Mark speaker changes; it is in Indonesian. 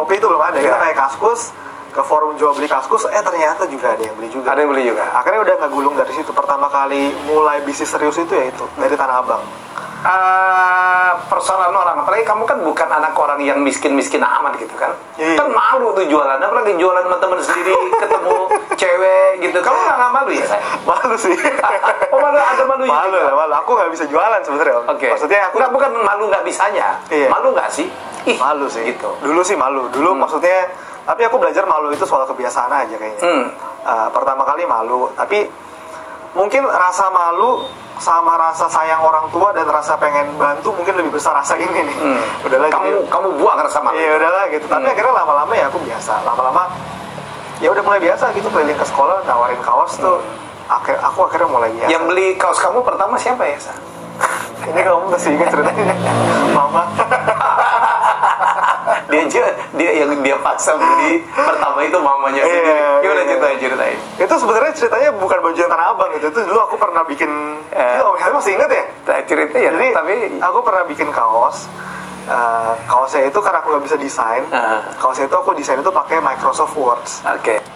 Speaker 1: waktu itu belum ada kita
Speaker 2: Iya.
Speaker 1: naik kaskus ke forum jual beli kaskus eh ternyata juga ada yang beli juga
Speaker 2: Ada yang beli juga.
Speaker 1: akhirnya udah ngegulung dari situ pertama kali mulai bisnis serius itu ya itu dari tanah abang
Speaker 2: Eh, persoalan orang apalagi kamu kan bukan anak orang yang miskin-miskin amat gitu kan
Speaker 1: Iya.
Speaker 2: kan malu tuh jualan apalagi jualan sama teman sendiri ketemu cewek gitu kamu nggak nggak malu ya Shay?
Speaker 1: malu sih
Speaker 2: oh malu ada malunya
Speaker 1: malu
Speaker 2: juga?
Speaker 1: lah malu aku nggak bisa jualan sebenarnya Om.
Speaker 2: Oke.
Speaker 1: maksudnya aku
Speaker 2: nggak bukan malu nggak bisanya.
Speaker 1: Iya.
Speaker 2: Malu nggak sih? Ih,
Speaker 1: malu sih
Speaker 2: Gitu. Hmm.
Speaker 1: dulu sih malu dulu maksudnya tapi aku belajar malu itu soal kebiasaan aja kayaknya
Speaker 2: Hmm.
Speaker 1: Eh, pertama kali malu tapi mungkin rasa malu sama rasa sayang orang tua dan rasa pengen bantu mungkin lebih besar rasa ini nih udahlah
Speaker 2: Hmm. Kamu
Speaker 1: jadi-
Speaker 2: kamu buang rasa malu.
Speaker 1: Iya udahlah gitu. Tapi
Speaker 2: Hmm.
Speaker 1: akhirnya lama-lama ya aku biasa. Lama-lama ya udah mulai biasa gitu keliling ke sekolah nawarin kaos tuh. Akhir aku akhirnya mulai biasa.
Speaker 2: Iya. Yang beli kaos kamu pertama siapa ya? Sa?
Speaker 1: ini kamu masih ingat ceritanya mama.
Speaker 2: Ah, Dia aja dia yang dia paksa beli pertama itu mamanya
Speaker 1: Iya,
Speaker 2: sendiri. Gimana
Speaker 1: iya.
Speaker 2: ceritain ceritain?
Speaker 1: itu sebenarnya ceritanya bukan baju yang tanah abang gitu. Itu dulu aku pernah bikin.
Speaker 2: Eh.
Speaker 1: Gila, Om Helmi masih ingat ya?
Speaker 2: Nah, cerita ya.
Speaker 1: Jadi
Speaker 2: tapi
Speaker 1: aku pernah bikin kaos. Eh, kaosnya itu karena aku nggak bisa desain.
Speaker 2: Ah.
Speaker 1: Kaosnya itu aku desain itu pakai Microsoft Words.
Speaker 2: oke.